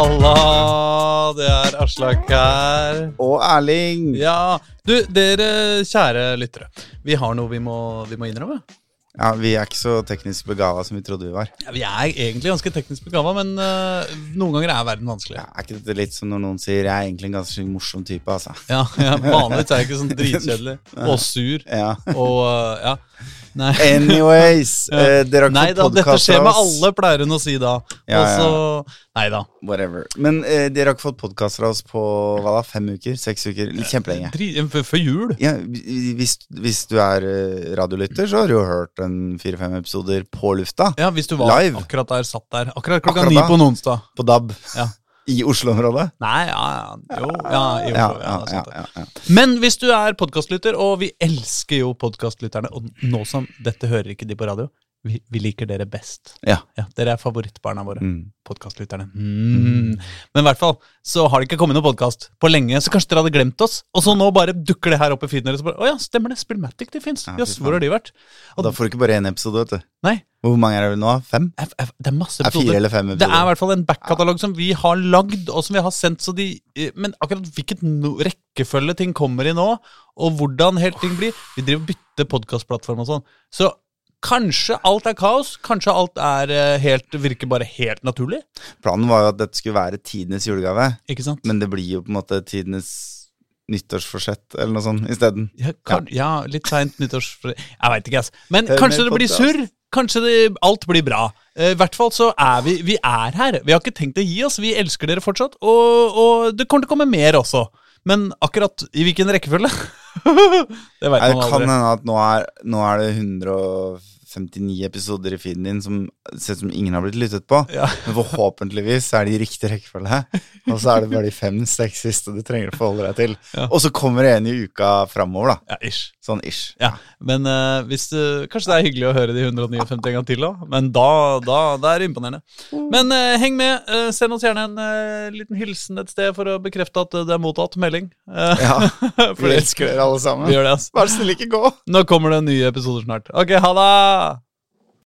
Halla, det er Aslak her. Og Erling. Ja, du, dere kjære lyttere. Vi har noe vi må, vi må innrømme. Ja, Vi er ikke så teknisk begava som vi trodde vi var. Ja, vi er egentlig ganske teknisk begava, men øh, noen ganger er verden vanskelig. Ja, er ikke dette litt som når noen sier 'jeg er egentlig en ganske morsom type', altså? Ja, ja Vanligvis er jeg ikke sånn dritkjedelig og sur Ja. og øh, ja. Nei. Anyways, eh, dere har Nei ikke da, fått dette podkast skjer av med oss. alle, pleier hun å si da. Ja, Og så Nei da. Whatever. Men eh, dere har ikke fått podkaster av oss på hva da, fem uker? Seks uker? Litt Kjempelenge. Dri- f- Før jul. Ja, hvis, hvis du er eh, radiolytter, så har du jo hørt en fire-fem episoder på lufta. Ja, Hvis du var Live. akkurat der, satt der. Akkurat klokka Akkurat ni da. på en onsdag. På DAB. Ja. I Oslo-området. Nei, ja, ja. Jo, ja, i Oslo, ja, Ja, ja, det er ja, sant det. ja, ja. Men hvis du er podkastlytter, og vi elsker jo podkastlytterne Og nå som dette hører ikke de på radio, vi, vi liker dere best. Ja. Dere er favorittbarna våre, Mm. podkastlytterne. Mm. Men i hvert fall så har det ikke kommet noen podkast på lenge, så kanskje dere hadde glemt oss. Og så nå bare dukker det her opp i feeden deres. og bare, Å ja, stemmer det, Spillmatic, de fins. Ja, fy Jøss, hvor har de vært? Og- Da får du ikke bare én episode, vet du. Nei. Hvor mange er det nå? Fem? F- F- Det er masse Det er fire episoder. eller fem Det er i episoder. hvert fall en backkatalog som vi har lagd, og som vi har sendt, så de eh, Men akkurat hvilket no rekkefølge ting kommer i nå, og hvordan helt ting blir Vi driver og bytter podkastplattform og sånn. Så kanskje alt er kaos. Kanskje alt er eh, helt Virker bare helt naturlig. Planen var jo at dette skulle være tidenes julegave, Ikke sant? men det blir jo på en måte tidenes nyttårsforsett eller noe sånt isteden. Ja, kan, ja. litt seint nyttårs... Jeg veit ikke, ass. Men Hør kanskje mer det blir podcast. surr. Kanskje det, alt blir bra. Eh, I hvert fall så er vi Vi er her. Vi har ikke tenkt å gi oss. Vi elsker dere fortsatt. Og, og det kommer til å komme mer også. Men akkurat i hvilken rekkefølge? det veit Det man kan aldri. hende at nå er, nå er det 159 episoder i feeden din som ser ut som ingen har blitt lyttet på. Ja. Men forhåpentligvis er de i riktig rekkefølge. Og så er det bare de fem-seks siste du trenger å forholde deg til. Ja. Og så kommer det en i uka framover, da. Ja, ish. Sånn ish. Ja, men eh, hvis du, Kanskje det er hyggelig å høre de 159 en gang til, da. Men da, da det er imponerende. Men eh, heng med. eh, send oss gjerne en eh, liten hilsen et sted for å bekrefte at eh, det er mottatt melding. Eh, Ja, for Vi det- elsker dere alle Vi sammen. gjør det, ass. Vær så snill, ikke gå! Nå kommer det nye episoder snart. Ok, ha det!